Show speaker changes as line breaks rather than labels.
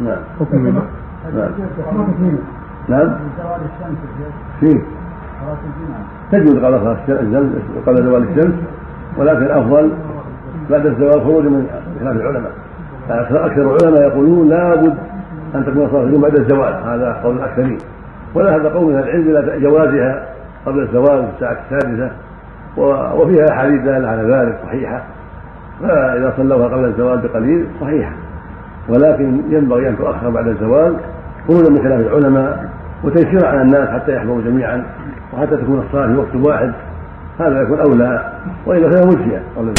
نعم
حكم منه
نعم نعم فيه تجوز قبل خلاص الشمس قبل زوال الشمس ولكن الافضل بعد الزوال خروج من خلاف العلماء اكثر أكثر العلماء يقولون لابد ان تكون صلاه الجمعه بعد الزوال هذا قول الاكثرين وذهب قوم من العلم الى جوازها قبل الزوال في الساعه السادسه و- وفيها احاديث داله على ذلك صحيحه فاذا صلوها قبل الزوال بقليل صحيحه ولكن ينبغي ان تؤخر بعد الزوال خروجا من خلاف العلماء وتيسير على الناس حتى يحضروا جميعا وحتى تكون الصلاه في وقت واحد هذا يكون اولى والا فهي مجزئه